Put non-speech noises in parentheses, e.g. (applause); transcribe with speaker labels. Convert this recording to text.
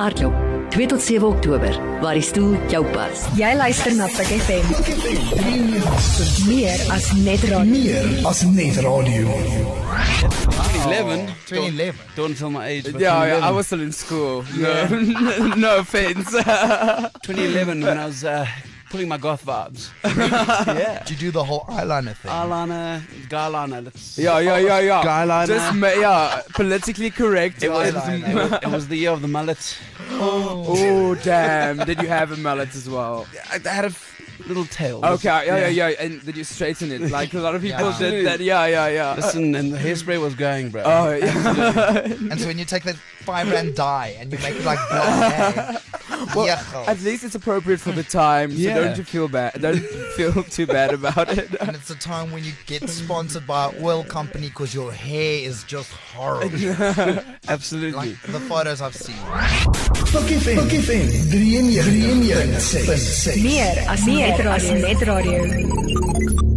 Speaker 1: Hardloop 2 tot 7 Oktober waar die stoel jou pas.
Speaker 2: Jy luister na Pick FM. Meer as net radio.
Speaker 3: Meer as net radio.
Speaker 4: 2011.
Speaker 3: 2011.
Speaker 4: Don't, don't tell my age. But
Speaker 5: Yeah,
Speaker 4: 2011.
Speaker 5: yeah, I was still in (laughs) school. No, (laughs) no offense.
Speaker 4: 2011 when I was uh, pulling my goth vibes. yeah.
Speaker 6: Did you do the whole eyeliner thing?
Speaker 4: Eyeliner, guyliner. That's,
Speaker 5: yeah, yeah, yeah, yeah.
Speaker 4: Guyliner.
Speaker 5: Just ma- yeah, politically correct.
Speaker 4: it, was,
Speaker 5: Um,
Speaker 4: it, was, it was the year of the mullet.
Speaker 5: oh damn! Did you have a mullet as (laughs) well?
Speaker 4: I, I had a f- little tail.
Speaker 5: Okay, yeah, yeah, yeah, And did you straighten it? Like a lot of people
Speaker 6: Yeah.
Speaker 5: did that. Yeah, yeah, yeah.
Speaker 4: Listen, and the hairspray was going, bro.
Speaker 5: (laughs) oh yeah. (laughs)
Speaker 6: And so when you take that five rand dye and you make it like blonde hair. yeah.
Speaker 5: At least it's appropriate for the time. So
Speaker 4: Yeah.
Speaker 5: don't you feel bad? Don't feel too bad about it.
Speaker 6: And it's a time when you get sponsored by an oil company because your hair is just horrible.
Speaker 4: Absolutely.
Speaker 6: Like the photos I've seen.
Speaker 3: Fik FM. Fik FM. 93.6.
Speaker 2: Meer as meer as net radio.